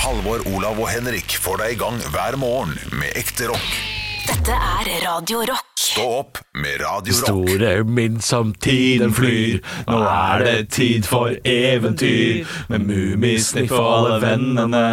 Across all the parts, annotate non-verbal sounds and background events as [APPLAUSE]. Halvor, Olav og Henrik får deg i gang hver morgen med ekte rock. Dette er Radio Rock. Stå opp med Radio Rock. Store min som tiden flyr, nå er det tid for eventyr. Med Mummisniff og alle vennene,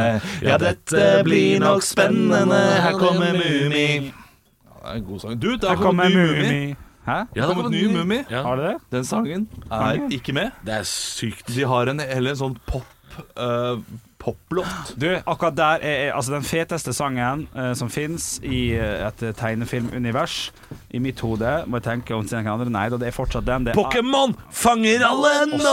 ja dette blir nok spennende. Her kommer Mummi. Det er en god sang. Du, det Der har kommet ny Mummi. Mummi. Hæ? Det har kommet ny Mummi. Ja, Har det det? Den sangen er ikke med. det er sykt. De har en heller en sånn pop uh, poplåt. Du, akkurat der er, er altså den feteste sangen eh, som fins i eh, et tegnefilmunivers. I mitt hode må jeg tenke om til noen andre. Nei da, det er fortsatt den. Det er Pokémon fanger alle nå!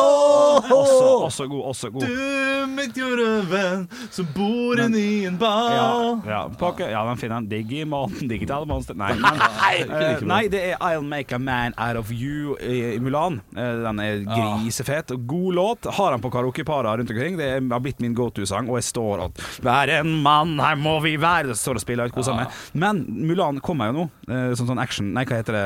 også, også god, også god. Du, mitt jordevenn, som bor Men- i en bar. Ja, ja, Poké- ja den finner han. Digimon, [LAUGHS] digital monster Nei, men, eh, nei, det er I'll Make a Man Out of You i, i Mulan. Eh, den er grisefet. og God låt. Har han på karaokeparer rundt omkring. Det er- har blitt min go to-sang, og jeg står og Vær en mann, her må vi være! Jeg står og spiller og koser meg. Men Mulan kommer jo nå, eh, som sånn action Nei, hva heter det?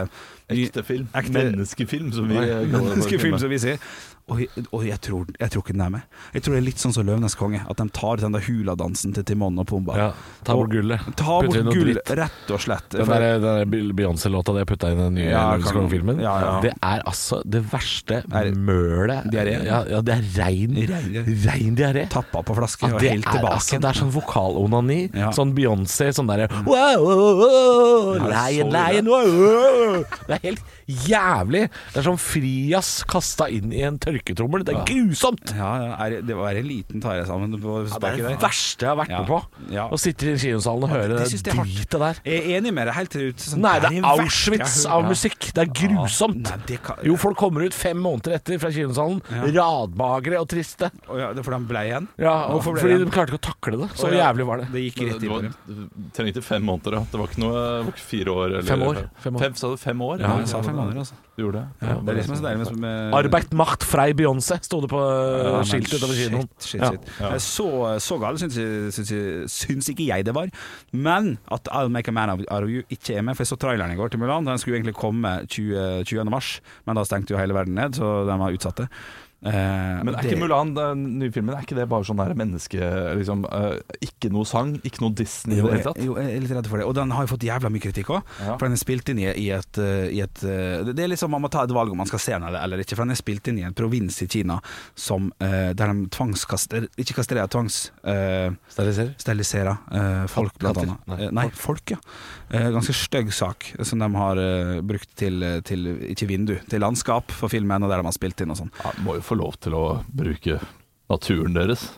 Ny- Ekte film. Ekte- Menneskefilm, som vi kaller det. Menneskefilm, som vi sier. Og, jeg- og jeg, tror, jeg tror ikke den er med. Jeg tror det er litt sånn som Løvenes konge, at de tar den der huladansen til Timon og Pumba. Ja, ta bort Og- gullet. Ta Putt inn bort noe gull, dritt. rett og slett. Den For- der, den der Be- Beyoncé-låta de putta inn i den nye Ja, Løvenes kan- Konge-filmen, ja, ja. det er altså det verste Er- mølet Diaré. Ja, ja, det er rein, Rein- rein diaré. Tappa på flaske eh, Ja, og det, helt er, tilbake. altså, det er sånn vokalonani. Ja. Mm. Sånn Beyoncé, sånn derre wow, wow, wow, så Lion, ille. lion, wow, wow. Det er helt jævlig. Det er sånn frijazz kasta inn i en tørketrommel. Det er grusomt! ja, ja, er, det var en liten tare sammen på Det er spaken det der. verste jeg har vært Ja. med på. Ja. Å sitte i kinosalen og høre det det, synes jeg er hardt. dritet der. Jeg er enig med deg helt ut. Sånn, Nei, det det er verste Auschwitz jeg har hørt. av musikk. Det er grusomt. Nei, det kan- Jo, folk kommer ut fem måneder etter fra kinosalen radmagre og triste. Å ja, det er fordi han blei igjen? Ja, og Hvorfor ble fordi det? de klarte ikke å takle det. Så Å ja, jævlig var det. Det gikk Men rett i Det på var, dem. det trengte fem måneder, ja. Det var ikke, noe, det var ikke fire år. Eller, Fem år. Fem år. Fem, sa du fem år? Ja, Jeg sa fem måneder, altså. Du gjorde det? Ja. Det er det som er så deilig med, med Arbeid, macht, frei Beyoncé, sto det på Eh. eh, Ja, men skiltet utover kinoen. Shit, shit, Ja. shit. Eh, Så, så gal syns, jeg- syns, jeg- syns ikke jeg det var. Men at I'll Make a Man Out of You ikke er med, for jeg så traileren i går til Mulan. Den skulle egentlig komme 20, 20. mars, men da stengte jo hele verden ned, så den var utsatt. det. Eh, Men og er det- ikke Mulan, den nye filmen, er ikke det bare sånn der menneske liksom, eh, Ikke noe sang, ikke noe Disney i jo, det hele jeg, tatt? jo, jeg er litt redd for det. Og den har jo fått jævla mye kritikk òg. Ja. For den er spilt inn i, i et, eh, i et eh, Det det er liksom man må ta et valg om man skal se den eller, eller ikke. For den er spilt inn i en provins i Kina som, eh, der de tvangskaster Ikke kastrerer, tvangs... eh, Steriliserer. steriliserer eh, folk, blant Katter? annet. Nei. Nei, Nei folk, ja. Eh, ganske stygg sak eh, som de har eh, brukt til, til ikke vindu, til landskap for filmen, og der de har spilt inn og sånn. Ja, må jo få lov til å bruke naturen deres.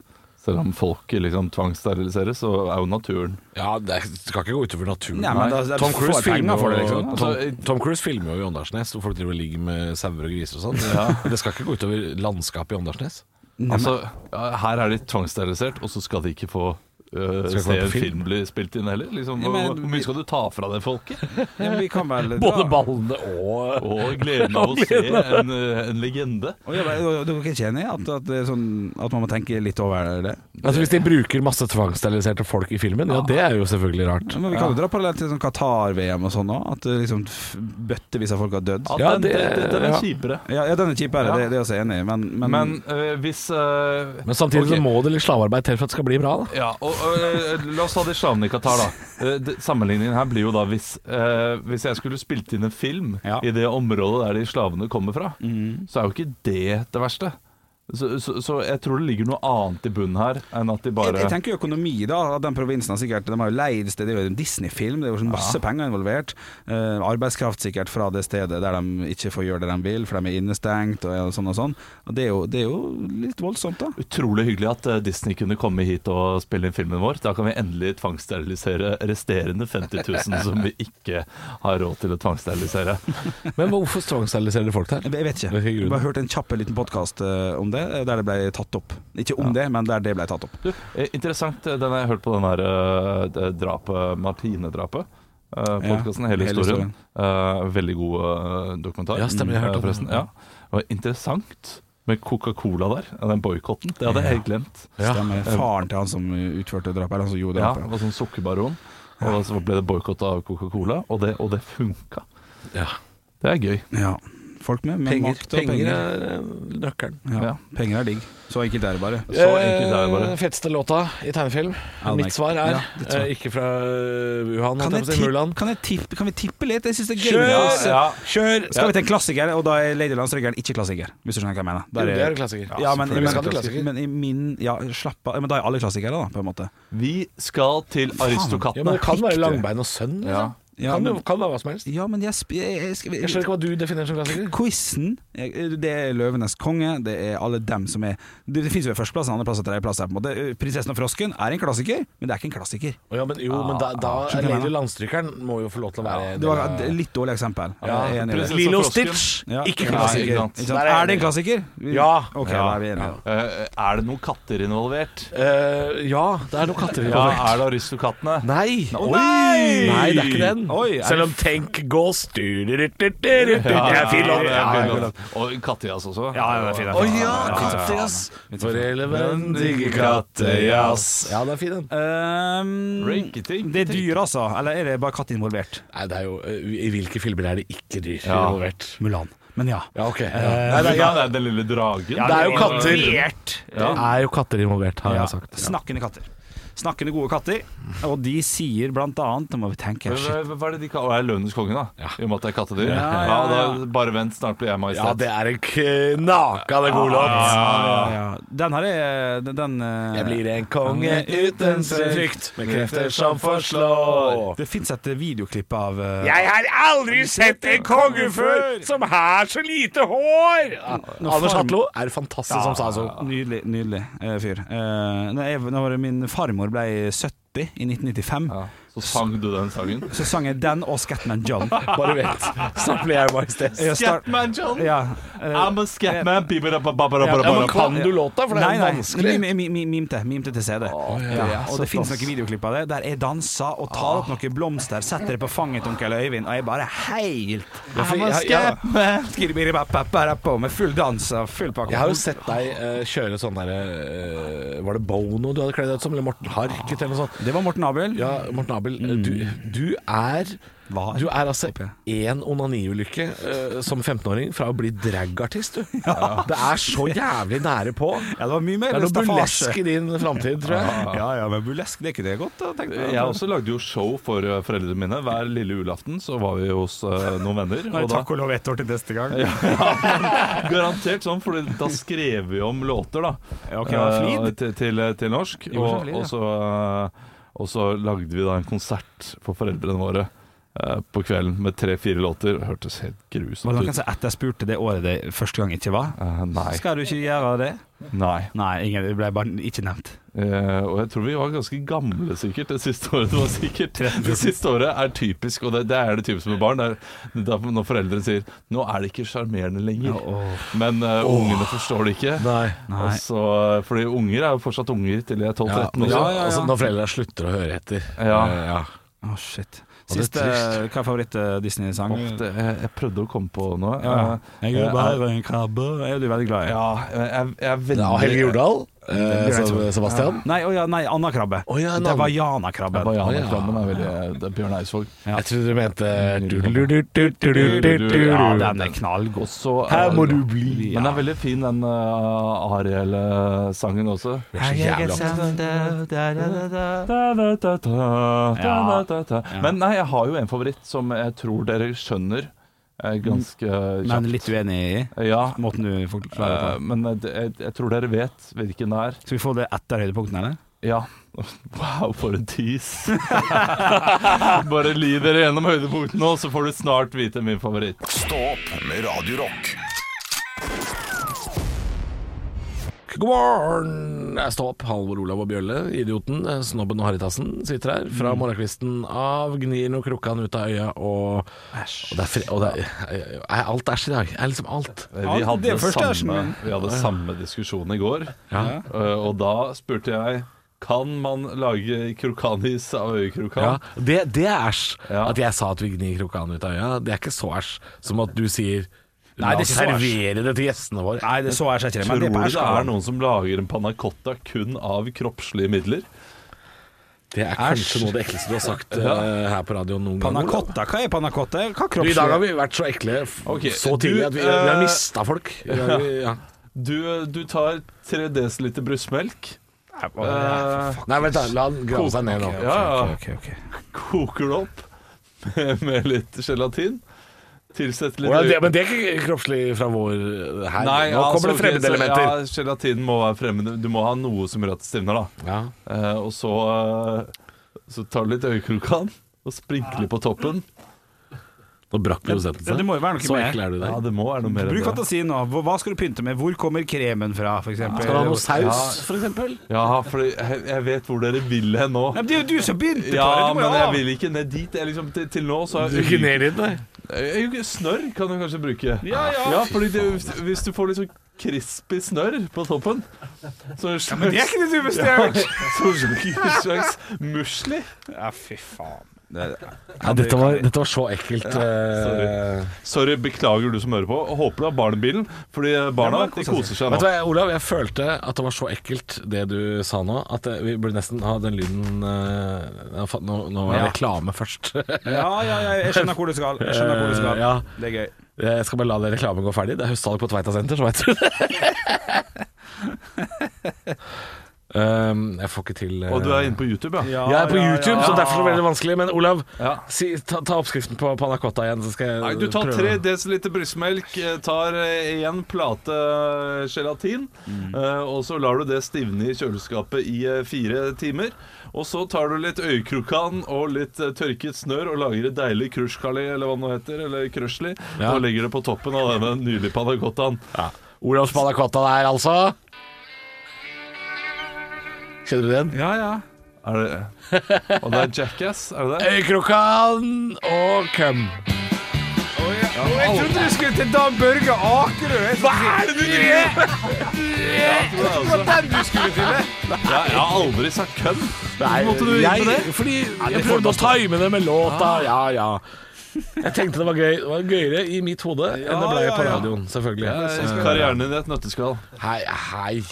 Selv om folket liksom tvangssteriliseres, så er jo naturen Ja, det er- det skal ikke gå utover naturen. Nei, men altså, da- Nei. da Tom får Cruise jeg penger filmer for jo det, liksom. Tom, Tom Cruise filmer jo i Åndalsnes, hvor folk driver og ligger med sauer og griser og sånn. Det skal ikke gå utover landskapet i Åndalsnes. Altså, ja, her er de tvangssterilisert, og så skal de ikke få eh, ikke se være på en film? film bli spilt inn heller? Liksom, Ja, hvor, men- hvor mye skal du ta fra det folket? Ja, men vi [LAUGHS] kan vel Både dra- ballene og Og gleden [LAUGHS] av å se en, eh, en legende. Og jeg bare- og Dere er ikke enig i at, at, det er sånn, at man må tenke litt over det? altså, Hvis de bruker masse tvangssteriliserte folk i filmen, ja, det er jo selvfølgelig rart. Men Vi kan jo dra parallelt til sånn Qatar-VM og sånn òg, at det liksom f- bøttevis av folk har dødd. Ja, Ja, den, det- den, den, den er ja. kjipere. Ja, ja, den er kjip, er det, Ja. det, det er jeg også enig i, men, men, Men eh, hvis eh, Men samtidig ok. så må det litt slavearbeid til for at det skal bli bra. Da. Ja, og øh, La oss ta de slavene i Qatar, da. Eh, det- Sammenligningen her blir jo da hvis, eh, hvis jeg skulle spilt inn en film Ja. i det området der de slavene kommer fra, Mm. så er jo ikke det det verste. Så, så, så jeg tror det ligger noe annet i bunnen her enn at de jeg, bare jeg tenker jo økonomi, da. At den provinsen har sikkert De har jo leid sted, det er jo en Disney-film, det er jo sånn masse penger involvert. Eh, arbeidskraft sikkert fra det stedet der de ikke får gjøre det de vil, for de er innestengt og sånn og sånn. Og det er jo, det er jo litt voldsomt, da. Utrolig hyggelig at eh, Disney kunne komme hit og spille inn filmen vår. Da kan vi endelig tvangssterilisere resterende 50 000 som vi ikke har råd til å tvangssterilisere. Men hvorfor tvangssterilisere folk der? Jeg vet ikke. Det er ikke Jeg grunnen. har bare hørt en kjapp liten podkast om det, eh, der det ble tatt opp. Ikke om det, men der det ble tatt opp. Du, eh, interessant. eh, Den har jeg hørt på den her eh, det drapet, Martine-drapet. Uh, Podkasten Hele hele historien. Eh, veldig god eh, dokumentar. Ja, stemmer, jeg hørte Eh, om den. forresten. Ja. Det var interessant med Coca-Cola der, eh, den boikotten. Det hadde jeg helt glemt. Ja. Stemmer. Faren til han som utførte drapet, eller han som gjorde Ja, drapet. det var sånn sukkerbaron. Og så ble det boikott av Coca-Cola, og det, og det funka. Ja. Det er gøy. Ja. folk med. Med Penger, makt og penger penger. er eh, nøkkelen. Ja, penger er digg. Så enkelt er det bare. Så enkelt er det bare. Eh, Feteste låta i tegnefilm? I'll make- Mitt svar er Ja, ditt svar. eh, ikke fra eh, Wuhan, holdt Kan, jeg jeg på å si, Mulan. tippe, kan, jeg tippe, kan vi tippe litt? Jeg synes det er gøy. Kjør! med oss. Ja. Kjør! Skal vi til en klassiker, og da er Ladyland-strykeren ikke klassiker. Hvis du skjønner hva jeg mener. Jo, det er en klassiker. Ja, men, selvfølgelig men, skal det klassiker. men i min Ja, slapp av. Men da er alle klassikere, da, på en måte. Vi skal til Ja, men Aristokattene. det kan være Hikk, du. Langbein og Sønn. Liksom. Ja. Ja, kan, men- jo- kan være hva som helst. Ja, men jeg, sp- jeg, jeg, skal- Jeg skjønner ikke hva du definerer som klassiker. Quizen, det er Løvenes konge, det er alle dem som er Det, det finnes jo en førsteplass, en andreplass og tredjeplass her, på en måte. Prinsessen og frosken er en klassiker, men det er ikke en klassiker. Å Ja, men jo, men da, da skjønner er jeg Lady nå. Landstrykeren må jo få lov til å være en Det var del av- et litt dårlig eksempel. ja. Jeg er enig i det. Prinsesse Lilo og frosken. Stitch, Ja. ikke Nei, klassiker. ikke sant. Der er jeg Er det en enig. klassiker? Ja. Ok, Ja. da er vi enige. Eh, er det noen katter involvert? Eh, ja, det er noen katter Ja, involvert. er det Aristokattene? Nei. Oi! Nei, det er ikke den. Oi, er Selv om Tenk Gås du, du, du, du, du, du, du, Det er fin låt. det er Ja, fin låt. Og kattejazz også. Ja, ja, det er fin, det er Å fin. ja, Ja, ja, ja. kattejazz. For elevendige kattejazz. Ja, det er fin den. Ehm, Rinketing. det er dyr, altså. Eller er det bare katt involvert? Nei, det er jo I hvilke filmer er det ikke dyr Ja. involvert? Mulan. Men ja. Ja, ok. Nei, Nei, det det er, er, den lille dragen. det er jo katter. Involvert. Det er jo katter involvert, har Ja. jeg sagt. Snakkende katter. Snakkende gode katter. Og de sier blant annet Nå må vi tenke eh, shit. Hva- Hva er det de kaller er lønnens konge, da? I og med at det er kattedyr? Ja, ja, da Bare vent, snart blir Ja, jeg majestet. det Ah, er en knakende god låt. Ja, Den har jeg Den, den eh, Jeg blir en konge uten frykt, med krefter som forslår. Det fins et videoklipp av eh, Jeg har aldri sett en konge før som har så lite hår! Anders Hatlo er fantastisk som sa sånn. så. Nydelig, nydelig eh, fyr. Uh, når, jeg, når min farmor ble 70 i 1995, Ja. Så sang du den sangen? så sang jeg den og Scatman John. Bare vent. Snart blir jeg majestet. Jeg start- John! ja, eh, I'm a scatman. Ja, Ja, men Bare- kan du låta? For det Nei, er jo nei, vanskelig. mim- mim- mim- mimte, mimte til CD. ja, ja, og det finnes noen videoklipp av det, der jeg danser og tar opp noen blomster, setter det på fanget til onkel Øyvind, og jeg bare helt for I'm a jeg- jeg- scapman. Skiribiribapaparapo, Med full dans og full pakke. Jeg har jo sett deg eh, kjøre sånn derre eh, Var det Bono du hadde kledd deg ut som? Eller Morten Harket, eller noe sånt? Det var Morten Abel. Ja, Morten Abel, eh, du, du er Var. Du er altså Håper én onaniulykke eh, som 15-åring fra å bli dragartist, du. Det er så jævlig nære på. Ja, det var mye Det mer er noe staffasje. burlesk i din framtid, tror jeg. Ja, ja, men burlesk, det er ikke det godt, da, tenkte jeg. Jeg også lagde jo show for eh, foreldrene mine. Hver lille julaften så var vi hos eh, noen venner. Nei, Og da, takk og lov ett år til neste gang. [LAUGHS] garantert sånn, for da skrev vi om låter, da. Ja, ok, det var Eh, flid. til, til, til norsk. Jo, det var Og, flid, ja. og, så, eh, og så lagde vi da en konsert for foreldrene våre eh, på kvelden med tre-fire låter. Det hørtes helt Og da grusomt kan jeg ut. si etter jeg spurte det året det første gang ikke var, Eh, nei. skal du ikke gjøre det? nei. Nei, ingen, det ble bare ikke nevnt. Eh, og jeg tror vi var ganske gamle sikkert det siste året. Det var sikkert Det siste året er typisk, og det, det er det typisk med barn. Det er, da, når foreldre sier 'nå er det ikke sjarmerende lenger', men eh, ungene forstår det ikke. Nei. Og Nei. så- fordi unger er jo fortsatt unger til de er 12-13 Ja, også. ja, ja, Altså, når foreldra slutter å høre etter. Ja. Eh, ja. Å, shit. det er Siste, trist. hva er eh, favoritt-Disney-sang? Åh, det, jeg, jeg prøvde å komme på noe. Eh, Jeg er bare en krabbe. Er du veldig glad i? ja, jeg, jeg er Det veldig er Helge Jordal eh, som Sebastian. Nei, å ja, nei, Anna Krabbe. Å ja, en det annen- var Jana-krabben. Å, Bare ja. Jana-klammen er veldig det er Bjørn Eidsvåg. Ja. Jeg trodde du mente du-du-du-du-du-du-du-du. Ja, den er knallgod. Og så, eh, Her må du bli. Men den er veldig fin, den eh, Ariel-sangen også. Det er så jævlig opptatt. Men nei, jeg har jo en favoritt som jeg tror dere skjønner eh, ganske eh, Mm. Men kjapt. Eh, litt uenig i Ja, måten du forklarer det eh, på. men eh, det- jeg, jeg tror dere vet hvilken det er. Skal vi få det etter høydepunktene, eller? Ja. [LAUGHS] Wow, for en [LAUGHS] tis. Bare li dere gjennom høydepunktene, og så får du snart vite min favoritt. Stå opp med Radio Rock. God morgen! Jeg står opp. Halvor Olav og Bjølle, idioten, eh, snobben og harrytassen, sitter her fra morgenkvisten av. Gnir noe krukkan ut av øya og Og det er, fri, og det er, jeg- jeg- alt æsj i dag. Jeg er liksom alt. Vi Ja, hadde, det første er samme, vi hadde samme diskusjon i går, Eh, og da spurte jeg kan man lage krokanis av Ja, øyekrokan. det, det er æsj. Ja. At jeg sa at vi gnir krukkan ut av øya, det er ikke så æsj som at du sier Nei, La det oss er ikke så æsj. servere det til gjestene våre. Nei, det så jeg ikke. Tror du det er noen som lager en panna cotta kun av kroppslige midler? Det er kanskje noe av det ekleste du har sagt eh, her på radioen noen gang. Panna Olav. cotta, hva er panna cotta? Hva Du, I dag har kroppslig? vi vært så ekle f- Ok, så tidlig du, at vi, vi har eh, mista [LAUGHS] folk. I dag har vi- Ja. Du, du tar 3 dl brystmelk, Nei, hva- Nei, vent, da. La han grave seg ned nå. ja, ja, Ok, ok. koker det opp med, med litt gelatin. Tilsetter litt Hvordan, det, øye- men det er ikke kroppslig fra vår eh, her. Nei, nå altså, kommer det ok, så- fremmedelementer. Ja, gelatinen må være fremmed. Du må ha noe som gjør at det stivner, da. Ja. Eh, og så, eh, så tar du litt øyekrokan og sprinkler på toppen. Nå brakk produsenten Ja, seg. det må jo være noe så mer. ekkel er du der. Ja, det må være noe mer Bruk enn det. fantasien nå. Hvor- Hva skal du pynte med? Hvor kommer kremen fra, f.eks.? Skal du ha noe Nei, saus, for eksempel? Ja, for jeg, jeg vet hvor dere vil hen nå. men det er jo du som begynte på det! Ja, Du må jo men jeg av. vil ikke ned dit. Jeg liksom, til, til nå så Du er ikke ned dit, nei. Øy- øy- Snørr kan du kanskje bruke. Ja, ja. fordi det, Hvis du får litt sånn crispy snørr på toppen Så en Men slags, det er ikke det dummeste jeg har hørt! [LAUGHS] så en slags musli. Ja, fy faen. Ja, dette, var, dette var så ekkelt. eh, Sorry, beklager du som hører på. Og Håper du har barn i bilen, fordi barna Ja, men de kose koser seg Vet du nå. hva, Olav, jeg følte at det var så ekkelt det du sa nå, at eh, vi burde nesten ha den lyden eh, fa- Nå, nå var det Ja. reklame først. Ja, ja, ja, jeg skjønner hvor du skal. Jeg skjønner hvor du skal. Eh, ja. Det er gøy. Eh, Jeg skal bare la den reklamen gå ferdig. Det er høstsalg på Tveita senter, så veit du [LAUGHS] det. Um, jeg får ikke til eh, Og du er inne på YouTube, ja? Jeg er på YouTube, så derfor så blir det vanskelig. Men Olav, Ja. si, ta, ta oppskriften på panna cotta igjen, så skal jeg Nei, du tar prøve. 3 dl brystmelk, eh, tar eh, en plate gelatin, eh, og så lar du det stivne i kjøleskapet i eh, fire timer. Og så tar du litt øyekrokan og litt eh, tørket snørr og lager et deilig krusjkali, eller hva det nå heter, eller krusjli, Ja. og legger det på toppen av denne nylig panacottaen. Ja. Olavs panna cotta der, altså. Kjenner du den? Ja, ja. Er det Og det er Jackass, er det det? Øyekrokan og cum. Og jeg trodde du skulle til Dan Børge Akerø! Hva er det du driver med?! Jeg tror det er den du skulle til det. Ja, jeg har aldri sagt køm. måtte du inn på det? Ah. Fordi jeg prøvde å time det med låta. Ja, ja. Jeg tenkte det var gøy Det var gøyere i mitt hode enn det ble ja, på ja. radioen, selvfølgelig. Karrieren din i et nøtteskall. Hei, hei.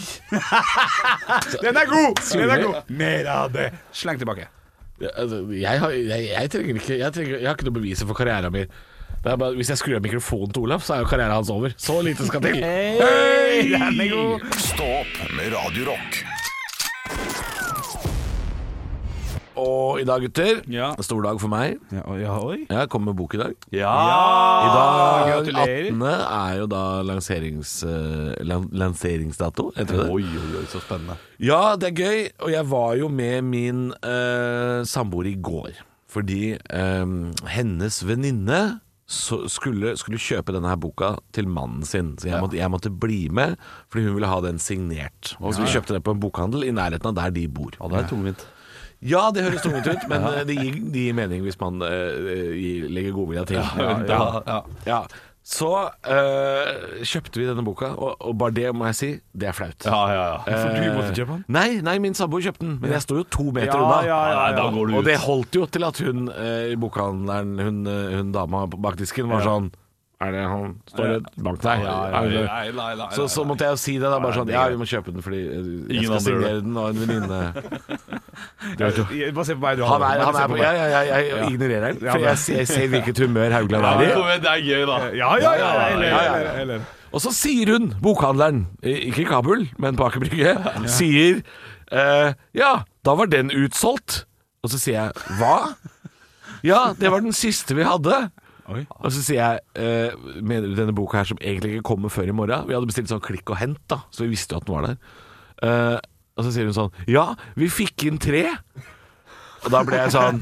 Den er god! Den er god. Mer av det. Sleng tilbake. altså, Jeg, har, jeg, jeg trenger ikke jeg, trenger, jeg har ikke noe beviser for karrieren min. Det er bare, hvis jeg skrur av mikrofonen til Olav, så er jo karrieren hans over. Så lite skal til. Den er god. Stå opp med Radio Rock. Og i dag, gutter, Ja. en stor dag for meg. Ja, oi, ja, oi. Jeg kommer med bok i dag. Ja! I dag Ah, gratulerer. 18. er jo da lanserings, eh, lan, lanseringsdato, heter det det. Oi, oi, oi, så spennende. Ja, det er gøy, og jeg var jo med min eh, samboer i går. Fordi eh, hennes venninne så- skulle, skulle kjøpe denne her boka til mannen sin. Så jeg, måtte, jeg måtte bli med, fordi hun ville ha den signert. Og så vi kjøpte den på en bokhandel i nærheten av der de bor. Ja, det er tungvint. Ja, det høres tungt ut, men eh, det, gir, det gir mening hvis man eh, eh, gir- legger godvilja til. Da- ja. Ja. Så eh, kjøpte vi denne boka, og, og bare det må jeg si, det er flaut. Eh, Ja, ja, ja. For du måtte kjøpe den? Nei, nei, min samboer kjøpte den, men jeg sto jo to meter Ja, unna. ja, ja, Nei, da ja. går du ut. Og det holdt jo til at hun eh, i bokhandleren, hun, eh, hun dama på bakdisken, var sånn Er det han står det bak deg? Er det det?» nei, nei, nei, Så, så måtte jeg jo si det. da Bare sånn Ja, vi må kjøpe den fordi eh, jeg Ingen skal andre gjør signere den, og en [LAUGHS] venninne Bare se på meg, du. Han er, Bare han se er på på meg. Jeg, jeg, jeg, jeg ignorerer den, Ja, for men- jeg, ser- jeg ser hvilket humør Haugland Ja, er i. kom igjen, det er gøy, da. Ja, ja, ja. Eller, Ja, ja, ja. eller, eller. Og så sier hun, bokhandleren, i- ikke i Kabul, men på Aker Brygge, sier eh, Ja, da var den utsolgt. Og så sier jeg hva? Ja, det var den siste vi hadde. Oi. Og så sier jeg eh, Mener du denne boka her som egentlig ikke kommer før i morgen? Vi hadde bestilt sånn klikk og hent, da, så vi visste jo at den var der. Eh, og så sier hun sånn Ja, vi fikk inn tre. Og da ble jeg sånn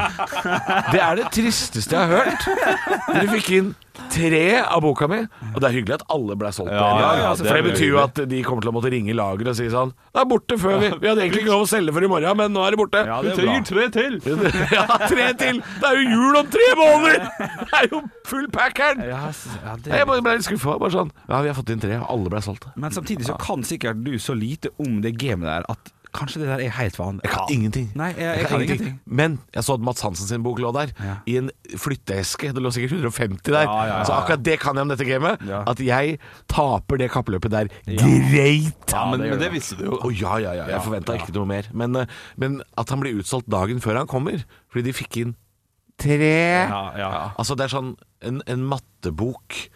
Det er det tristeste jeg har hørt. Dere fikk inn tre av boka mi, og det er hyggelig at alle ble solgt. på Ja, ja, en gang, ja, for det selvfølgelig. betyr jo at de kommer til å måtte ringe lageret og si sånn Det er borte før vi Vi hadde egentlig ikke lov å selge for i morgen, men nå er det borte. Ja, Du det er bra. trenger tre til. [LAUGHS] Ja, tre til! Det er jo jul om tre måneder! Det er jo full packeren! Ja, s- ja, det Jeg bare ble litt skuffa. Bare sånn Ja, vi har fått inn tre, og alle ble solgt. Men samtidig så kan sikkert du så lite om det gamet der at Kanskje det der er helt vanlig. Jeg kan ingenting. Nei, jeg- jeg kan ingenting. Men jeg så at Mats Hansen sin bok lå der, Ja. i en flytteeske. Det lå sikkert 150 der. Ja, ja, ja, ja. Så akkurat det kan jeg om dette gamet. Ja. At jeg taper det kappløpet der. Greit! Ja, men, men det visste du jo. Å ja, ja, ja. Jeg forventa ikke noe mer. Men, eh, men at han blir utsolgt dagen før han kommer, fordi de fikk inn tre Ja, ja. Altså det er sånn en, en mattebok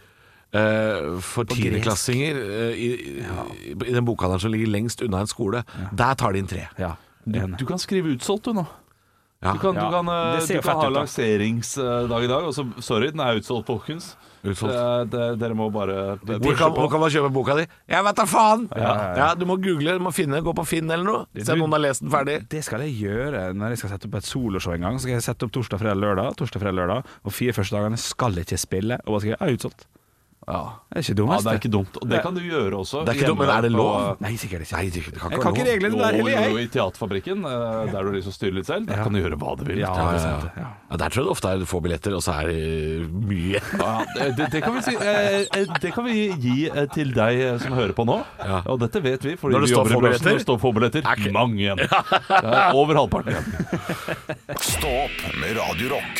eh, for tiendeklassinger eh, i, i, i den bokhandelen som ligger lengst unna en skole. Der tar de inn tre. ja. Du, enig. du kan skrive utsolgt, du nå. Ja. Du kan, Ja, du kan, eh, det ser du fett kan ha ut, da. lanseringsdag i dag. Og så, sorry, den er utsolgt, folkens. Utsolgt. Eh, det- Dere må bare Hvor kan, hvor kan man kjøpe boka di? Jeg vet da faen! Ja, ja, Du må google, du må finne, gå på Finn eller noe. Se om noen har lest den ferdig. Det skal jeg gjøre når jeg skal sette opp et soloshow en gang. Så skal jeg sette opp torsdag, fredag, lørdag. Torsdag, fredag, lørdag Og fire første dagene skal jeg ikke spille. Og bare skal jeg er utsolgt. Ja. Det er ikke ja, dummest. det er ikke dumt. Og det kan du gjøre også. Det er ikke dumt, men er det hjemme på- lov? Nei, sikkert ikke. Nei, det, det kan Jeg ikke kan ikke være lov. reglene Jo, der heller, jo, jo, jeg. i Teaterfabrikken, eh, der du liksom styrer litt selv, der kan du gjøre hva du vil. Ja, Ja, det er ja, sant, ja. ja. ja, der tror jeg det ofte er få billetter, og så er det mye. [LAUGHS] Ja, det, det- det kan vi si. eh, eh, Det kan vi gi eh, til deg eh, som hører på nå. Ja. Og dette vet vi, fordi Når det vi står jobber i få bransjen. Når billetter? det står få billetter, Er ikke- mange [LAUGHS] igjen. Det er Over halvparten igjen. Stå opp med Radio Rock.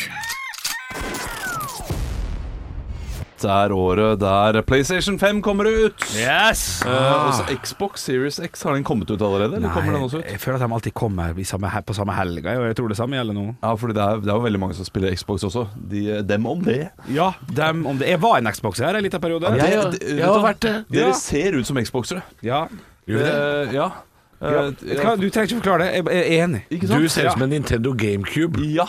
Det er året der PlayStation 5 kommer ut. Yes! Eh, også Xbox Series X, har den kommet ut allerede? Eller kommer den også ut? jeg føler at de alltid kommer i samme, he- på samme helg, og jeg tror det samme gjelder nå. Ja, fordi det er, det er jo veldig mange som spiller Xbox også. De, eh, dem om det. Ja, dem, om det Jeg var en Xbox her en liten periode. Ja, jeg- Det- jeg har vært det. Dere Ja. ser ut som Xboxere. Ja. Eh, ja. Eh, Ja. Vet du hva, Du trenger ikke forklare det. Jeg jeg er enig. Ikke sant? Du ser Ja. ut som en Nintendo GameCube. Ja.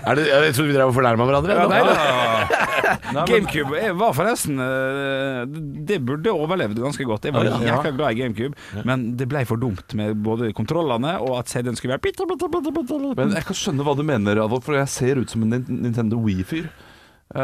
Er det, jeg trodde vi drev og fornærma hverandre. Ja, nå. nei, da. [LAUGHS] Nei, men- GameCube jeg var forresten eh, Det burde overlevd ganske godt. Jeg var Ja. jækla glad i GameCube, men det ble for dumt med både kontrollene og at CD-en skulle være bitte, bitte, bitte, bitte, bitte. Men jeg kan skjønne hva du mener, Adolf, for jeg ser ut som en Nin- Nintendo Wii-fyr. Eh,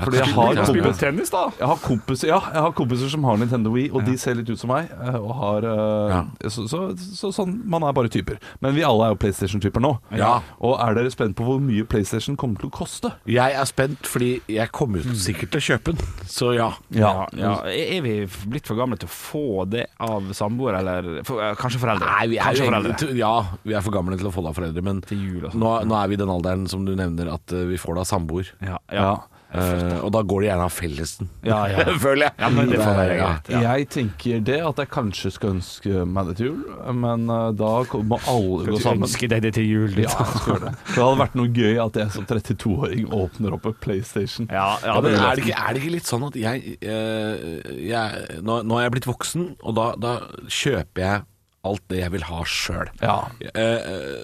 fordi jeg har, kanskje du kan kompis, spille tennis, da? jeg, har kompiser, ja, jeg har kompiser som har Nintendo Wii, og de ser litt ut som meg. eh, Og har, eh, så, så, så, sånn, Man er bare typer. Men vi alle er jo PlayStation-typer nå. Ja. Og er dere spent på hvor mye PlayStation kommer til å koste? Jeg er spent, fordi jeg kommer jo sikkert til å kjøpe den. Så ja. Ja, ja. Er vi blitt for gamle til å få det av samboer, eller for, eh, kanskje foreldre? Nei, vi er, kanskje jo foreldre. egentlig, ja, vi er for gamle til sånn. å få det av foreldre, men Til jul og sånn. sånt. nå, nå er vi i den alderen som du nevner at eh, vi får det av samboer. Ja, ja. Eh, og da går det gjerne av fellesen, Ja, ja. [LAUGHS] føler jeg. Ja, men det får være Ja. greit. Ja. Jeg tenker det at jeg kanskje skal ønske meg det til jul, men eh, da må alle gå Du sammen. ønsker deg det til jul, du. Ja, jeg skal gjøre det. Så det hadde vært noe gøy at jeg som 32-åring åpner opp en PlayStation. [LAUGHS] Ja, ja, Ja, men det er det, ikke, er det ikke litt sånn at jeg, eh, jeg nå, nå er jeg blitt voksen, og da, da kjøper jeg alt det jeg vil ha sjøl. Ja.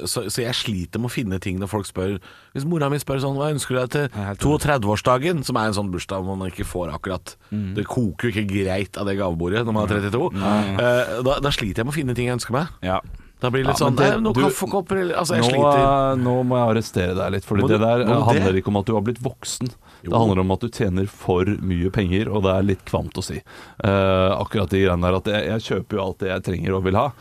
så, så jeg sliter med å finne ting når folk spør Hvis mora mi spør sånn Hva ønsker du deg til 32-årsdagen? Som er en sånn bursdag man ikke får akkurat Mm. Det koker jo ikke greit av det gavebordet når man er 32. Eh, da, da sliter jeg med å finne ting jeg ønsker meg. ja. Da blir det litt Ja, men sånn det, det- Noen du- kaffekopper eller Altså, jeg Nå, sliter. eh, nå må jeg arrestere deg litt, for Må det du- der eh, må du det? handler ikke om at du har blitt voksen. Det handler om at du tjener for mye penger, og det er litt kvamt å si. Eh, akkurat de greiene der at jeg, jeg kjøper jo alt det jeg trenger og vil ha.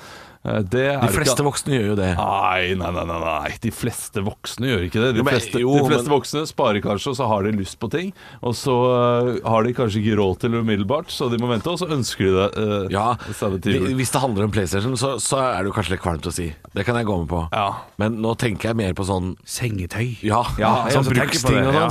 Eh, det er De fleste ikke, voksne gjør jo det. Nei, nei, nei, nei, nei. De fleste voksne gjør ikke det. De Jo, men- fleste, jo, de fleste men- voksne sparer kanskje, og så har de lyst på ting. Og så eh, har de kanskje ikke råd til det umiddelbart, så de må vente, og så ønsker de det. eh, [LAUGHS] Ja, stedet til de- jul. Hvis det handler om PlayStation, så, så er det jo kanskje litt kvalmt å si. Det kan jeg gå med på. Ja. Men nå tenker jeg mer på sånn Sengetøy. Ja, Ja, jeg sånn også tenker på bruksting det, og sånn. ja.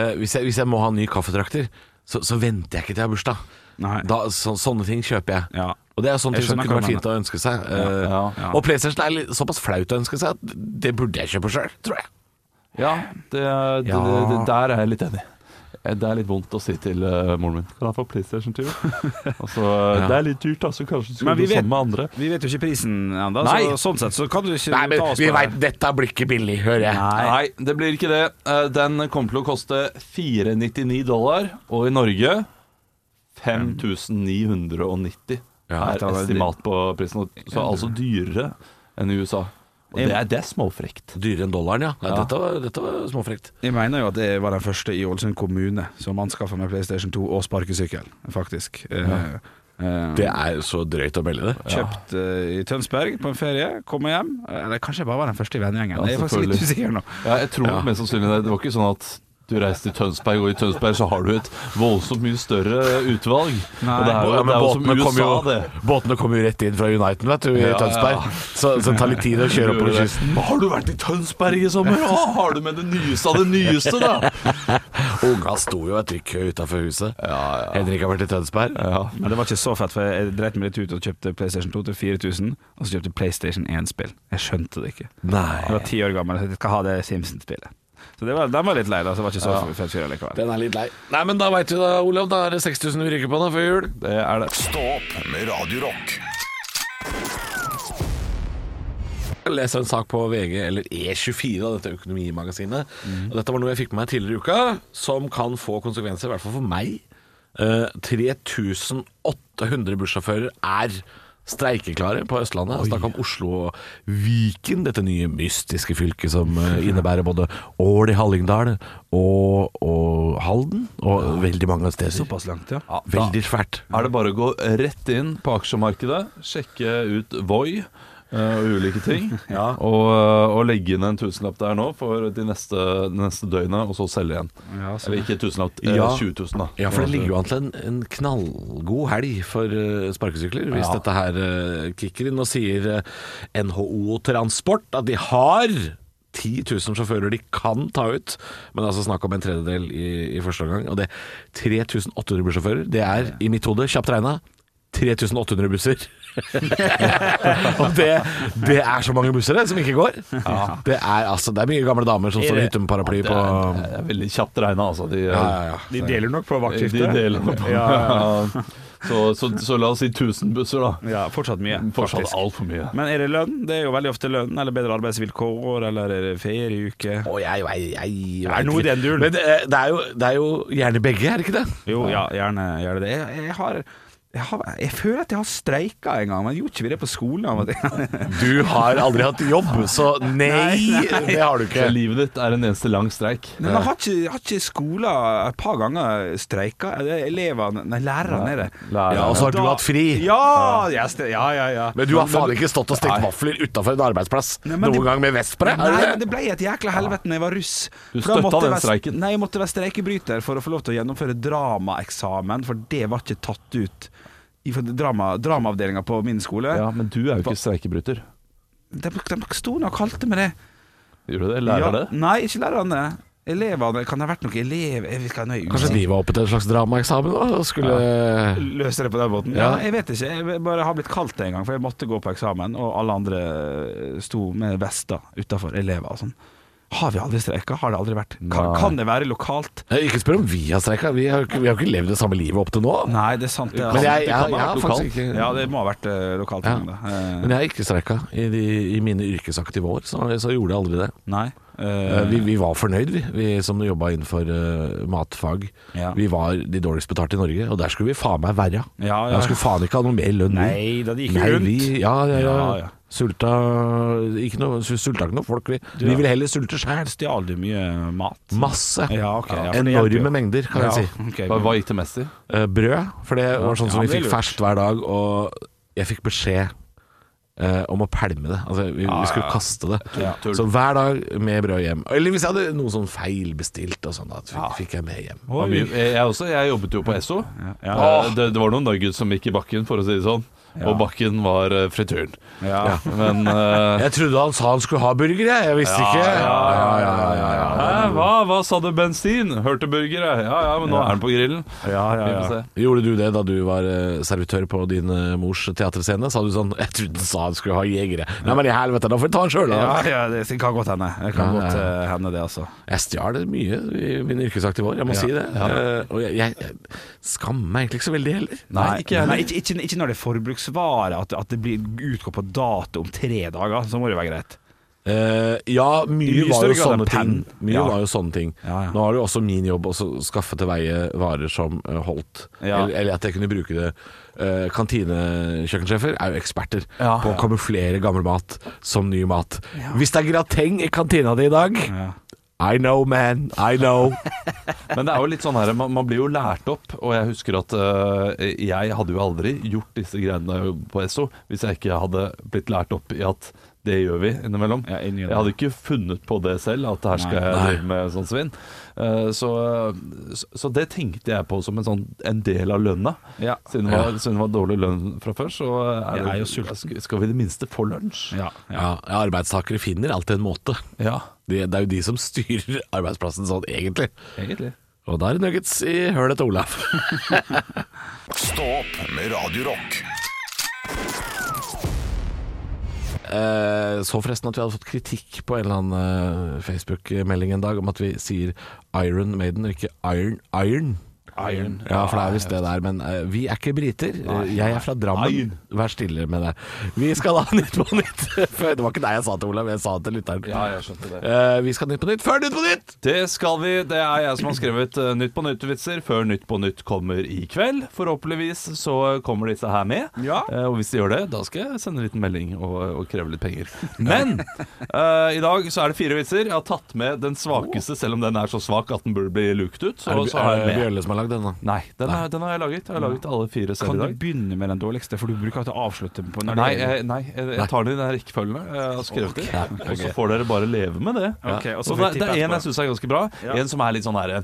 sånn eh, hvis, jeg, hvis jeg må ha en ny kaffetrakter, så, så venter jeg ikke til jeg har bursdag. Nei. Da, så, sånne ting kjøper jeg. Ja. Og det er sånne Jeg ting som skjønner kunne hva vært du fint å ønske seg. Eh, ja, ja. Og PlayStation er litt, såpass flaut å ønske seg at det burde jeg kjøpe sjøl, tror jeg. Ja, det, det, Ja. Det, det, der er jeg litt enig. Eh, Det er litt vondt å si til eh, moren min. Kan jeg få PlayStation [LAUGHS] 20? altså, eh, Det er litt dyrt, altså. Kanskje du skal Men gjøre vi det vet- samme med andre. Vi vet jo ikke prisen ennå, Nei. så sånn sett så kan du ikke Nei, men ta oss vi på veit det. dette blir ikke billig, hører jeg. Nei. det blir ikke det. Eh, Den kommer til å koste 499 dollar, og i Norge 5990 Ja, er estimat på prisen. og- Så altså dyrere enn i USA. Og det er, det er småfrekt. Dyrere enn dollaren, ja. Nei, Ja. Dette var, dette var småfrekt. Jeg mener jo at jeg var den første i Ålesund kommune som anskaffa meg PlayStation 2 og sparkesykkel, faktisk. Eh, eh, Det er jo så drøyt å melde det. Kjøpt eh, i Tønsberg på en ferie, kom hjem. Eh, Eller kanskje jeg bare var den første i vennegjengen. Ja, jeg er faktisk litt usikker nå. Ja, jeg tror nok mest sannsynlig det. Det var ikke sånn at du du reist til Tønsberg, og i Tønsberg så har du et voldsomt mye større utvalg. og det er jo, Ja, det men er jo som båtene kom USA, jo, det. båtene kom jo rett inn fra Uniten vet du, i Ja, ja. Tønsberg. Så, så det tar [LAUGHS] litt tid å kjøre oppover Gjorde det. kysten. Har du vært i Tønsberg i sommer? Å, har du med det nyeste av det nyeste, da? Unga sto jo et trykk utafor huset. Henrik har vært i Tønsberg. Men det var ikke så fett, for jeg dreit meg litt ut og kjøpte PlayStation 2 til 4000, og så kjøpte PlayStation 1-spill. Jeg skjønte det ikke. Jeg Nei. var ti år gammel og jeg skal ha det Simpsons-spillet. Så det var, den var litt lei, da. Så det var ikke så fett fyr likevel. Den er litt lei. Nei, men da veit du da, Olav. Da er det 6000 vi rykker på da før jul. Det er det. Stå opp med Radio Rock. Jeg leser en sak på VG, eller E24, da, dette økonomimagasinet. Og dette var noe jeg fikk med meg tidligere i uka, som kan få konsekvenser, i hvert fall for meg. Eh, 3800 bussjåfører er streikeklare på Østlandet. Snakk om Oslo og Viken, dette nye mystiske fylket som eh, [LAUGHS] innebærer både Ål i Hallingdal og, og Halden, og veldig mange steder. Såpass langt, ja. Veldig svært. [LAUGHS] Er det bare å gå rett inn på aksjemarkedet, sjekke ut Voi eh, og ulike ting, [LAUGHS] og, eh, og legge inn en tusenlapp der nå for de neste, de neste døgnet, og så selge igjen. Ja, så- Eller ikke tusenlapp, eh, Ja. 20 000 da. Ja, for det ligger jo an til en, en knallgod helg for eh, sparkesykler, hvis dette her eh, kicker inn. Nå sier eh, NHO Transport at de har 10 000 sjåfører de kan ta ut, men det er altså snakk om en tredjedel i, i første omgang. Og det 3800 bussjåfører, det er i mitt hode, kjapt regna, 3800 busser. [LAUGHS] og det, det er så mange busser det, som ikke går. Det, er, altså, det er mye gamle damer som står i hytte med paraply Det på er, det er veldig kjapt regnet, altså. De, ja, ja, ja. De deler nok på De deler noe [LAUGHS] på. Ja, Så, så, så la oss si 1000 busser da. Ja, fortsatt mye. Mm, Fortsatt faktisk. alt for mye. Men er det lønn? Det er jo veldig ofte lønn, eller bedre arbeidsvilkår, eller er det ferieuke? Å, jeg, jeg, jeg, jeg Er det noe i den duren? Men det, det, er jo, det er jo gjerne begge, er det ikke det? Jo, ja, gjerne gjør det det. Jeg, jeg har jeg, har, jeg føler at jeg har streika en gang, men gjorde ikke vi det på skolen? av og [LAUGHS] til? Du har aldri hatt jobb, så nei, det har Så du ikke. livet ditt er en eneste lang streik. Nei, Men har ikke, har ikke skoler et par ganger streika? Er det Elevene Nei, lærerne er det. Lærerne. Ja, og så har du Da- hatt fri. Ja, jeg stre- ja, ja, ja. Men du har faen ikke stått og stekt vafler utafor en arbeidsplass Nei, men noen det- gang med vest på deg? Nei, er men det det? det ble et jækla helvete når jeg var russ. Du For da støtta måtte jeg den være- streiken? Nei, jeg måtte være streikebryter for å få lov til å gjennomføre dramaeksamen, for det var ikke tatt ut i for drama, dramaavdelinga på min skole. Ja, men du er jo ikke streikebryter. De, de sto nå og kalte meg det. Gjør du det? Lærer ja, det? Nei, ikke lærerne. Elevene. Kan det ha vært noen elev... Jeg skal nøye Kanskje de var oppe til en slags dramaeksamen da, og skulle løse det på den måten. Ja. Ja. jeg vet ikke. Jeg bare har blitt kalt det en gang, for jeg måtte gå på eksamen, og alle andre eh, sto med vester utafor, elever og sånn. Har vi aldri streika? Har det aldri vært? Kan, Nei. kan det være lokalt? Nei, Ikke spør om vi har streika, vi har jo ikke, vi har ikke levd det samme livet opp til nå. Nei, det er sant. Det, er- Men jeg, jeg, det kan jeg, ha vært har faktisk ikke ja, det må ha vært eh, lokalt. Ja. en gang, da. Eh, Men jeg har ikke streika i, de, i mine yrkesaktive år, så, så gjorde jeg aldri det. nei. eh, Eh, Vi, vi var fornøyd, vi, vi som jobba innenfor eh, matfag. Ja. Vi var de dårligst betalte i Norge, og der skulle vi faen meg være. Ja, ja. Jeg skulle faen ikke ha noe mer lønn. vi. Nei da, det gikk jo Nei, rundt. Vi, ja, ja, ja. Ja, ja. Sulta ikke noe, sulta ikke noe folk. Vi, vi ville heller sulte sjæl. Stjal du mye mat? [LAUGHS] Masse. Ja, ok, ja, for det hjelper jo. Enorme mengder, kan jeg si. ok. Hva, hva gikk det mest i? Eh, brød, for det var sånn som Ja, vi det er fikk lurt. ferskt hver dag, og jeg fikk beskjed eh, om å pælme det. Altså, vi, vi skulle kaste det. Ja. Så hver dag med brød hjem. Eller hvis jeg hadde noe sånn feilbestilt og sånn, da fikk, fikk jeg med hjem. Ja, mye- Jeg, jeg også. Jeg jobbet jo på Esso. Ja. Eh, Det, det var noen nuggets som gikk i bakken, for å si det sånn. Og bakken var eh, frityren. Ja. Men [LAUGHS] eh, Jeg trodde han sa han skulle ha burger, jeg. Jeg visste ikke. Ja, ja, ja, ja, ja. Hæ, hva, hva sa du? Bensin? Hørte burger, jeg. Ja ja, men nå er den på grillen. Ja, ja, Vi ja. får se. Gjorde du det da du var eh, servitør på din eh, mors teaterscene? Sa du sånn 'Jeg trodde han sa han skulle ha jegere'. Nei, men i helvete, da får vi ta han sjøl, Ja, da. ja, det det kan godt hende. Det kan Ja, godt ja, ja. eh, hende, det, altså. Jeg stjal det mye i mine yrkesaktive år, jeg må si det. Eh, Og jeg, jeg, jeg skammer meg egentlig ikke så veldig heller. Nei, ikke, nei, ikke, ikke, ikke når det er forbruksvare, at, at det blir utgår på dato om tre dager. Så må det være greit. Eh, ja, mye, I mye var jo større grad sånne enn ting. pen. Mye Ja. var jo sånne ting. Ja, ja. Nå har det jo også min jobb å så skaffe til veie varer som eh, holdt. Ja. Eller, eller at jeg kunne bruke det. Eh, Kantinekjøkkensjefer er jo eksperter Ja. på å kamuflere gammel mat som ny mat. Hvis det er grateng i kantina di i dag I know, man. I [LAUGHS] know. Men det er jo litt sånn her, man, man blir jo lært opp, og jeg husker at eh, jeg hadde jo aldri gjort disse greiene på Esso hvis jeg ikke hadde blitt lært opp i at Det gjør vi innimellom. Ja, jeg innimellom. hadde ikke funnet på det selv, at her skal jeg Nei. drive med sånn svinn. Eh, Så, så det tenkte jeg på som en, sånn, en del av lønna. Ja. Siden, det var, siden det var dårlig lønn fra før, så er Jeg det, er jo sulten. skal- skal vi i det minste få lunsj. Ja, ja. Ja, ja, arbeidstakere finner alltid en måte. Ja, Det, det er jo de som styrer arbeidsplassen sånn, egentlig. egentlig. Og da er det nuggets i hølet til [LAUGHS] Olav. Stå opp med Radio Rock. Eh, så forresten at vi hadde fått kritikk på en eller annen eh, Facebook-melding en dag om at vi sier Iron Maiden og ikke Iron Iron. Iron. Ja, for det er visst det der, men eh, vi er ikke briter. Eh, jeg er fra Drammen. Iron. Vær stille med det. Vi skal ha Nytt på nytt. [LAUGHS] Før- det var ikke deg jeg sa til Olav, jeg sa det til lytteren. Ja, jeg skjønte det. Eh, vi skal ha Nytt på nytt før Nytt på nytt! Det skal vi. Det er jeg som har skrevet eh, Nytt på nytt-vitser før Nytt på nytt kommer i kveld. Forhåpentligvis så kommer disse her med. Ja. Eh, Og hvis de gjør det, da skal jeg sende en liten melding og, og kreve litt penger. Men eh, i dag så er det fire vitser. Jeg har tatt med den svakeste, selv om den er så svak at den burde bli luket ut. Så, Er det, så har er det jeg med. Bjølle som har lagd den, da? Nei, den, Er, den har jeg laget. Jeg har laget alle fire selv Kan i du dag. begynne med den dårligste, for du bruker alltid å avslutte på når Nei, det- jeg, nei, jeg, jeg tar den i den rekkefølgen jeg har skrevet det. Og så får dere bare leve med det. Ok, og Og så får vi det, tippe det er en etterpå. jeg syns er ganske bra. En som er litt sånn herre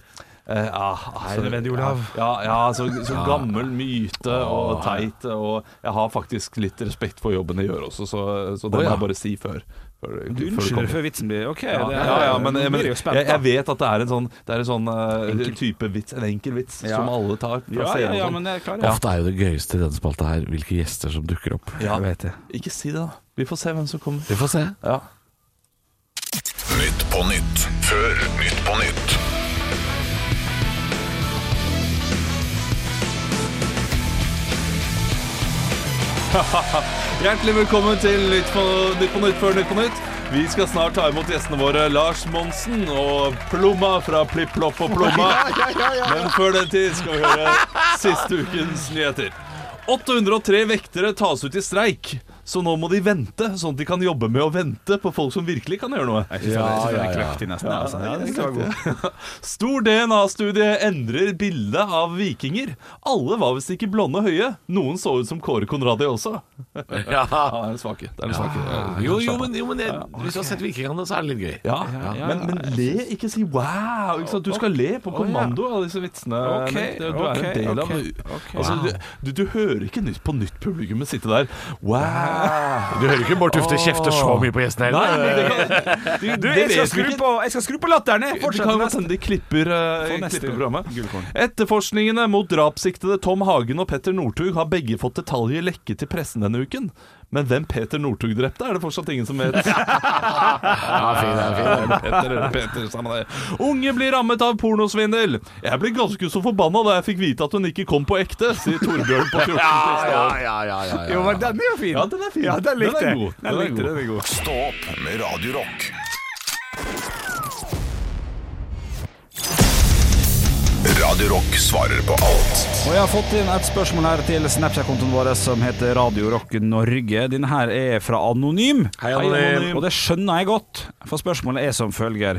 Er det nødvendig, Olav? ah, altså, Ja, ja så, så gammel myte og teit. Og jeg har faktisk litt respekt for jobben jeg gjør også, så, så det Å, må ja. jeg bare si før. før, før Du det unnskylder kommer. før vitsen blir OK. Ja, det er- ja, ja, men, nå men blir jeg jo jeg, spent, jeg da. vet at det er en sånn, det er en sånn eh, type vits, en enkel vits, Ja. som alle tar fra ja, ja, scenen. og ja, sånn. men jeg er klar. Ja. Ofte er jo det gøyeste i denne spalta her hvilke gjester som dukker opp. Ja. vet det. Ikke si det, da. Vi får se hvem som kommer. Vi får se. Ja. Nytt på nytt før Nytt på nytt. Hjertelig velkommen til Nytt på, nytt på Nytt før Nytt på Nytt. Vi skal snart ta imot gjestene våre Lars Monsen og Plomma fra Plipp Plopp og Plomma. Men før den tid skal vi høre siste ukens nyheter. 803 vektere tas ut i streik, så nå må de vente, sånn at de kan jobbe med å vente på folk som virkelig kan gjøre noe. Jeg synes det- jeg synes det er kløktig nesten. altså. Ja, det skal være god. [LAUGHS] Stor DNA-studie endrer bildet av vikinger. Alle var visst ikke blonde og høye. Noen så ut som Kåre Conradi også. Ja, Ja. det er en svake. Det er en svake. Jo, jo, men, jo, men jeg, hvis du har sett Vikingene, så er det litt gøy. Ja, Men, men le, ikke si wow. Ikke sant? Du skal le på kommando av disse vitsene. Ok, Nick. Det- du ok, er en del av ok, ok. altså, du, du, du hører ikke nytt på nytt publikummet sitte der wow. Du hører ikke Bård Tufte kjefte så mye på gjestene Nei, heller. men det kan, du, eh, Du, jeg skal skru på, jeg skal skru på latteren, jeg. Det Fortsett kan jo neste. hende de klipper, eh, For neste klipper programmet. gullkorn. Etterforskningene mot drapssiktede Tom Hagen og Petter Northug har begge fått detaljer lekket til pressen denne uken. Men hvem Peter Northug drepte, er det fortsatt ingen som [LAUGHS] vet. Ja, fin, ja, fin. Petter eller Peter, samme det. Unge blir rammet av pornosvindel. Jeg ble ganske så forbanna da jeg fikk vite at hun ikke kom på ekte, sier Torbjørn på 14 Ja, til ja, Stad. ja, ja, ja, ja. Jo, men den er jo fin. Ja, den er fin. Ja, den likte Den er jeg. god. Den Den er likte god. den er god. Stå opp med Radio Rock. Radio Rock svarer på alt Og jeg har fått inn et spørsmål her til Snapchat-kontoen vår som heter Radio Rock Norge. Denne her er fra Anonym. Hei, Anonym. Og det skjønner jeg godt, for spørsmålet er som følger.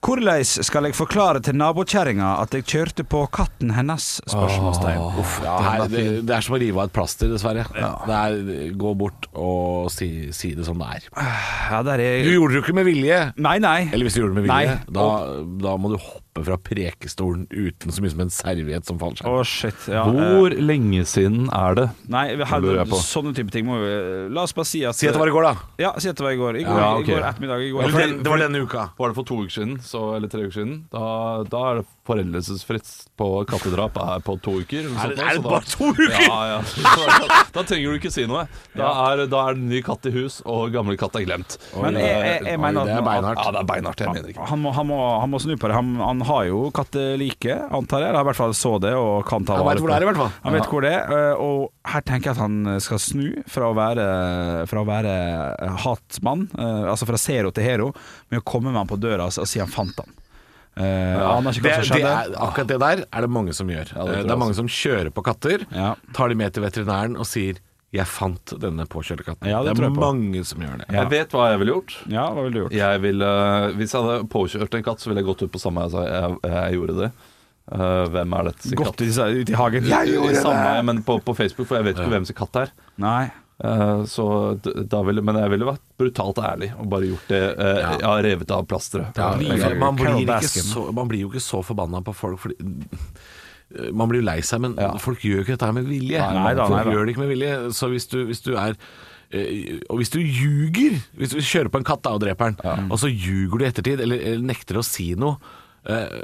Hvordan skal jeg forklare til nabokjerringa at jeg kjørte på katten hennes? Spørsmålstegn. Uff, Ja, her, det, det er som å rive av et plaster, dessverre. Det er Gå bort og si, si det som det er. Ja, der Du er gjorde det jo ikke med vilje. Nei, nei. Eller hvis du gjorde det med vilje, Nei. da, da må du hoppe fra prekestolen uten så mye som en serviett som faller Å, seg. shit. Ja, eh, Hvor lenge siden er det? nei, her, lurer jeg på. sånne type ting må vi La oss bare si at Si at det var i går, da. Ja, si at det var i går. I går, Ja, ok. i går ettermiddag. I går. Det var, den, det var denne uka. Var det for to uker siden, så, eller tre uker siden? Da, da er det foreldelsesfrist på kattedrap er på to uker. eller Er det, sånt, så er det da- bare to uker?! Ja, ja. Da, da trenger du ikke si noe. Da er, da er det ny katt i hus, og gamle katt er glemt. Men jeg, jeg, jeg mener at det er nå- beinhardt. Ja, det er beinhardt. Jeg mener ikke Han må, han, må, han må snu på det. Han, han har jo kattelike, antar jeg. Eller i hvert fall så det og kan ta Han vare vet på hvor det er, i hvert fall. Han vet hvor det er. eh, Og her tenker jeg at han skal snu fra å være, fra å være hatmann, eh, altså fra zero til hero, med å komme med han på døra og si han fant han. Eh, Han har ikke det, hva som det skjedde. er, akkurat det der er det mange som gjør. tror det, jeg er mange som kjører på katter, Ja. tar de med til veterinæren og sier 'jeg fant denne påkjørte katten'. Ja, det det tror er jeg på. mange som gjør det. Ja. Jeg vet hva jeg ville gjort. Ja, hva ville du gjort? Jeg ville, hvis jeg hadde påkjørt en katt, så ville jeg gått ut på samme altså, jeg, jeg gjorde det. Eh, hvem er dette sin Gått katt? ut i, ut i hagen? I samme, Men på, på Facebook, for jeg vet ikke hvem sin katt er. Nei. Eh, Så d- da ville, men jeg ville vært brutalt ærlig og bare gjort det. eh, Ja. Ja, revet av plasteret. Ja, Jeg for kan- man, blir Carol ikke Baskin. så, man blir jo ikke så forbanna på folk fordi man blir jo lei seg, men folk gjør jo ikke dette her med vilje. Nei da, folk nei da. gjør det ikke med vilje. Så hvis du, hvis du er eh, Og hvis du ljuger Hvis du kjører på en katt da og dreper den, og så ljuger du i ettertid, eller, eller nekter å si noe, eh,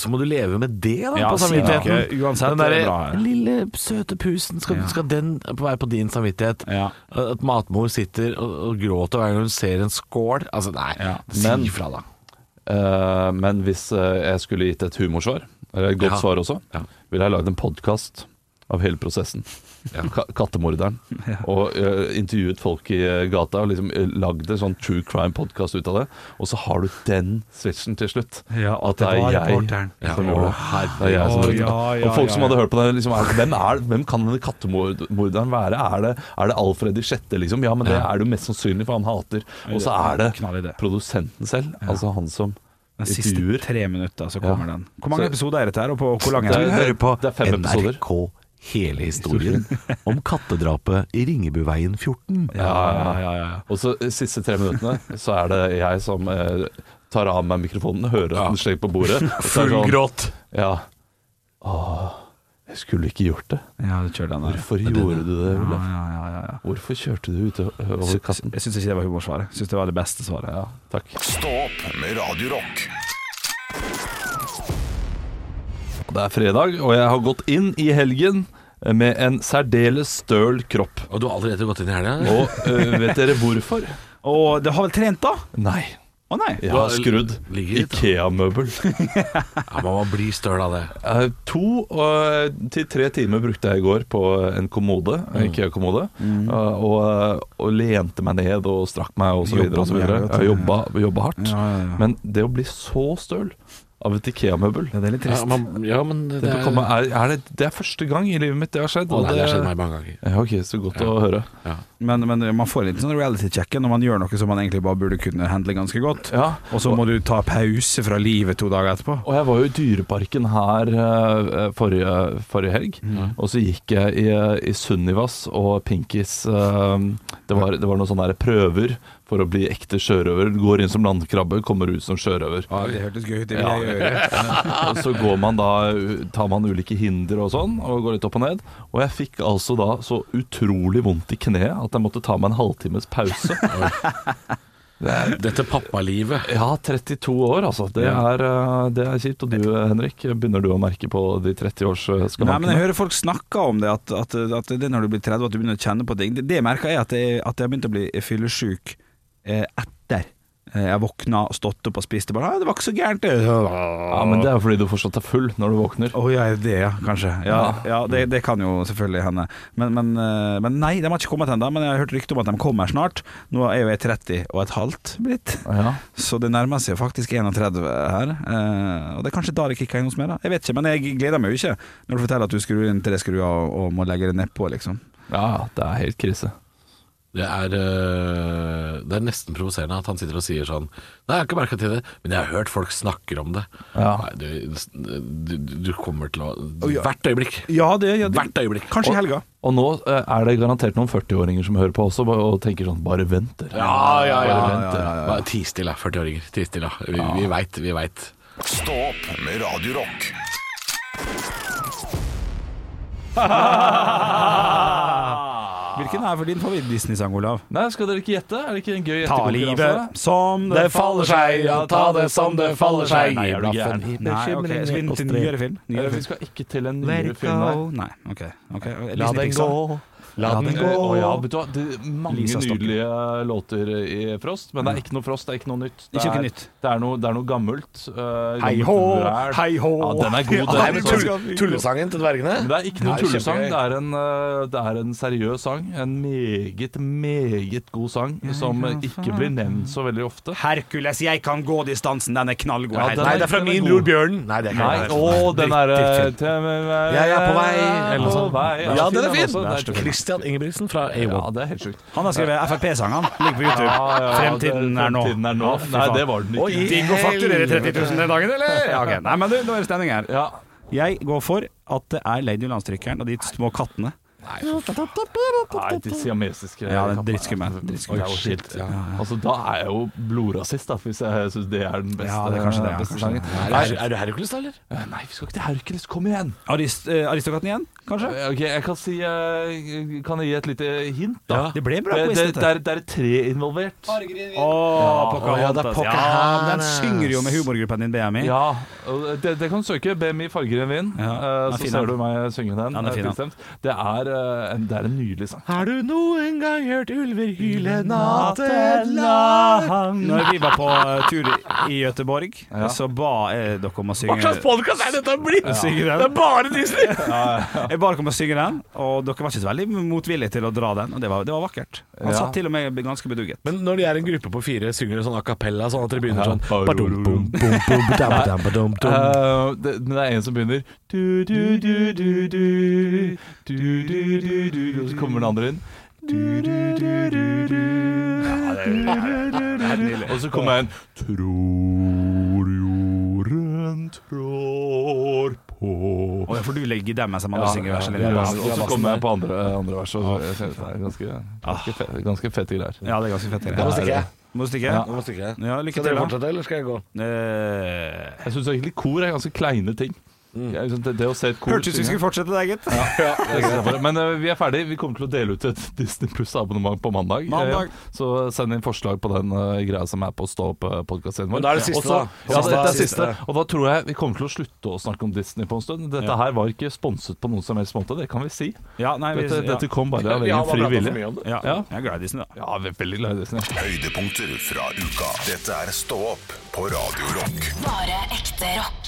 så må du leve med det da, Ja, på si det samvittigheten. ikke. Eh, Uansett, den derre det er bra her. lille, søte pusen, skal, skal den være på din samvittighet? Ja. At matmor sitter og, og gråter hver gang hun ser en skål? Altså, nei, Ja. si Men- fra, da. Eh, men hvis eh, jeg skulle gitt et humorsvar, eller et godt Ja. svar også, Ja. ville jeg lagd en podkast av hele prosessen. Ka kattemorderen. Og eh, intervjuet folk i eh, gata og liksom eh, lagd en sånn true crime-podkast ut av det. Og så har du den switchen til slutt. Ja, at at det det var er jeg reporteren. som gjorde det. Det er jeg som Å, gjorde det. ja, ja, og folk som ja, hadde hørt på det, liksom, er, hvem, er, hvem kan denne kattemorderen være? Er det, er det Alfred i sjette, liksom? Ja, men det er det jo mest sannsynlig, for han hater. Og så er Knall i det. det produsenten selv, altså han som Den siste intervjuer. tre minutter, så kommer Ja. den. Hvor mange Så- episoder er dette her, og på hvor lang Det er er- den? hører på Det er fem episoder. NRK hele historien [LAUGHS] om kattedrapet i Ringebuveien 14. ja, ja, Og så eh, siste tre minuttene så er det jeg som eh, tar av meg mikrofonen, hører at den slenger på [LAUGHS] bordet. og så er det sånn, gråt. Ja. Åh, jeg skulle ikke gjort det. Ja, du kjører den der. Hvorfor gjorde du det, Ja, Olav? ja, ja, ja, ja. Hvorfor kjørte du ut over katten? Jeg syns ikke det var humorsvaret. Jeg syns det var det beste svaret. Ja, takk. Stå opp med Radio Rock. Det er fredag, og jeg har gått inn i helgen eh, med en særdeles støl kropp. Og du har allerede gått inn i helga? Og eh, vet dere hvorfor? Og det har vel trent, da? Nei. Å nei. Jeg har skrudd Ligger litt, da. Ikea-møbel. Ja, man må bli støl av det. Eh, To og, til tre timer brukte jeg i går på en kommode, en IKEA-kommode, eh, og, og lente meg ned og strakk meg og så videre og så videre. Jobba med det, vet du. Jeg jobba, jobba hardt. Ja, ja, ja. Men det å bli så støl av et IKEA-møbel Ja, det er litt Ja, trist. man, ja men det, det, er- bekommer- er, er det, det er første gang i livet mitt det har skjedd. Å, og nei, det har skjedd det- meg mange ganger. Ja, ok, Så godt å høre. Men, men man får litt sånn reality-check når man gjør noe som man egentlig bare burde kunne handle ganske godt. Ja, Og så må du ta pause fra livet to dager etterpå. Og jeg var jo i Dyreparken her eh, forrige, forrige helg, Mm. og så gikk jeg i, i Sunnivas og Pinkis eh, det, var, det var noen sånne her prøver for å bli ekte sjørøver. Du Går inn som landkrabbe, kommer ut som [LAUGHS] sjørøver. Ja, det hørtes gøy ut, det vil jeg [LAUGHS] gjøre. Ah. Og så går man da, tar man ulike hinder og sånn, og går litt opp og ned. Og jeg fikk altså da så utrolig vondt i kneet at jeg måtte ta meg en halvtimes [LAUGHS] pause. Dette pappalivet. Ja, 32 år, altså. Det er, eh, det er kjipt. Og du, Henrik, begynner du å merke på de eh, 30-årsskalankene? Nei, men Jeg hører folk snakke om det, at, at, at det er når du blir 30 at du begynner å kjenne på ting. Det, det merker jeg at jeg, at jeg har begynt å bli fyllesyk eh, etter. Eh, Jeg våkna, stått opp og spiste bare «Ah, 'Det var ikke så gærent', det. Ja, men det er jo fordi du fortsatt er full når du våkner. Å ja, det ja, kanskje. Ja, ja det, det kan jo selvfølgelig hende. Men, men, eh, men nei, de har ikke kommet ennå. Men jeg har hørt rykte om at de kommer snart. Nå er jo jeg 30 og et halvt blitt, Ja. så det nærmer seg faktisk 31 her. Eh, Og det er kanskje da det kicker inn hos meg, da. Jeg vet ikke, men jeg gleder meg jo ikke når du forteller at du skrur inn tre skruer og, og må legge det nedpå, liksom. ja, det er helt krise. Det er, øh, det er nesten provoserende at han sitter og sier sånn Nei, jeg har ikke merka til det, men jeg har hørt folk snakker om det. Ja. Nei, du, du, du kommer til å ja. Hvert øyeblikk. Ja, det, ja, det Hvert øyeblikk. Kanskje i helga. Og nå eh, er det garantert noen 40-åringer som hører på også ba- og tenker sånn Bare vent, dere. Ja, ja, ja. Bare vent, dere. Bare Ti stille, 40-åringer. Ti stille. Vi, vi veit, vi veit. Stå opp med Radio Rock. Ah. Hvilken er for din favoritt-Disney-sang, Olav? Nei, skal dere ikke gjette? Er det ikke en gøy som det faller seg, ja, ta det som det faller seg. Nei, er du gæren? Nei, ok, Skal vi inn til nyere film? Eh, Nyere Vi film. skal ikke til en nyere film der. Nei, ok. ok. Disney Pixar. La den den gå. gå. ja, vet du hva, det er mange Lisa Stokke. nydelige låter i Frost, men det er ikke noe Frost, det er ikke noe nytt. Ikke noe nytt. Det er noe, det er noe gammelt. eh, Hei gammelt hå, vræl. hei hå. Ja, den er god. Nei, Den. men tull- tullesangen Men til dvergene? det er ikke noen Nei, tullesang. kjempegøy. Det er, en, eh, det er en seriøs sang. En meget, meget god sang som eh, ikke blir nevnt så veldig ofte. Hercules, jeg kan gå distansen, den er knallgod. Ja, Hei, den hei. Nei, det er fra Den er min god. bror Bjørnen. Nei, det er ikke Nei, det. å, den er eh, til- Jeg er på vei, eller noe På sånt. vei. Ja, den er fin! også. Det er- Christian Ingebrigtsen fra Ja, A1. det er helt sjukt. Han har skrevet FrP-sang, han. Ligger på YouTube. Ja, ja, ja, Fremtiden det- er nå. Fremtiden er nå. Å, fy Nei, faen. det var den ikke. Oi, Digg å fakturere 30 000 den dagen, eller? Ja, ok. Nei, men du, nå er det stemning her. Ja. Jeg går for at det er Lady Landstrykeren og de små kattene Nei, de siamesiske Ja, det er drittskummelt. Drittskummelt. Oi, shit. Ja, ja. Altså, da er jeg jo blodrasist, da, hvis jeg syns det er den beste, Ja, det er kanskje det, ja, beste kanskje sangen. det. Er, Nei, er, er du Hercules, da, eller? nei, vi skal ikke til Hercules. Kom igjen! Arist, eh, Aristokraten igjen, kanskje? Ok, jeg kan si eh, Kan jeg gi et lite hint, da? Det ble bra Det, quiz, det, dette. det, er, det er tre involvert. Å, Pocahontas. Pocahontas. Ja, men den synger jo med humorgruppen din, BMI. Ja, og det, det kan du søke. BMI farger enn vind. Ja, Eh, den er så fin, ser den. du meg synge den. Ja, den er fin, eh, den. tilstemt. det, er, eh, en, det er en nydelig sang. Har du noen gang hørt ulver hyle Når vi var på eh, tur i- i Gøteborg, så ba jeg dere om å synge Hva slags podkast er dette blitt? Synger den. Det er bare Disney! Jeg ba dere om å synge den, og dere var ikke så veldig motvillige til å dra den. Og det var, det var vakkert. Han Ja. satt til og med ganske bedugget. Men når de er en gruppe på fire, synger de sånn a cappella, sånn at de begynner Ja. sånn badum, bum, bum, bum, badam, badam, badum, dum. Eh, det, men det er en som begynner du, du, du, du, du, du, du, du, du, Og så kommer den andre inn. Du, du, du, du, du, du, du, du. Og så kommer en Tror jorden trår på Og for du legger dem mens de andre synger verset. ja, litt. ja, og så kommer jeg på andre, andre vers. Og så, jeg synes det er ganske, ganske, fete, ganske fete greier. Ah. Ja, det er ganske fett. Da Ja. må stikke jeg. Må du stikke? Da må stikke jeg. Ja, lykke Skal til. dere da. fortsette, eller skal jeg gå? Eh, Jeg syns egentlig kor er ganske kleine ting. Mm. Jeg synes Det, det å se et kor Hørtes ut som vi skulle fortsette det, gitt. Det er greit. Men eh, vi er ferdig. Vi kommer til å dele ut et [LAUGHS] Disney Pluss-abonnement på mandag. Mandag. Eh, så send inn forslag på den eh, greia som er på Stå opp-podkasten vår. Men da er det siste, Også- da. Ja, det, det er Siste. siste. Og da tror jeg vi kommer til å slutte å snakke om Disney på en stund. Dette her var ikke sponset på noen som helst måte, det kan vi si. Ja, nei, vi- Dette, ja. dette kom bare av Vi egen har bare fri pratet for mye vilje. om det. Ja, Ja. jeg er glad i Disney, da. Ja, vi er veldig glad i Disney. Høydepunkter fra uka. Dette er Stå opp på Radio Rock. Bare ekte rock.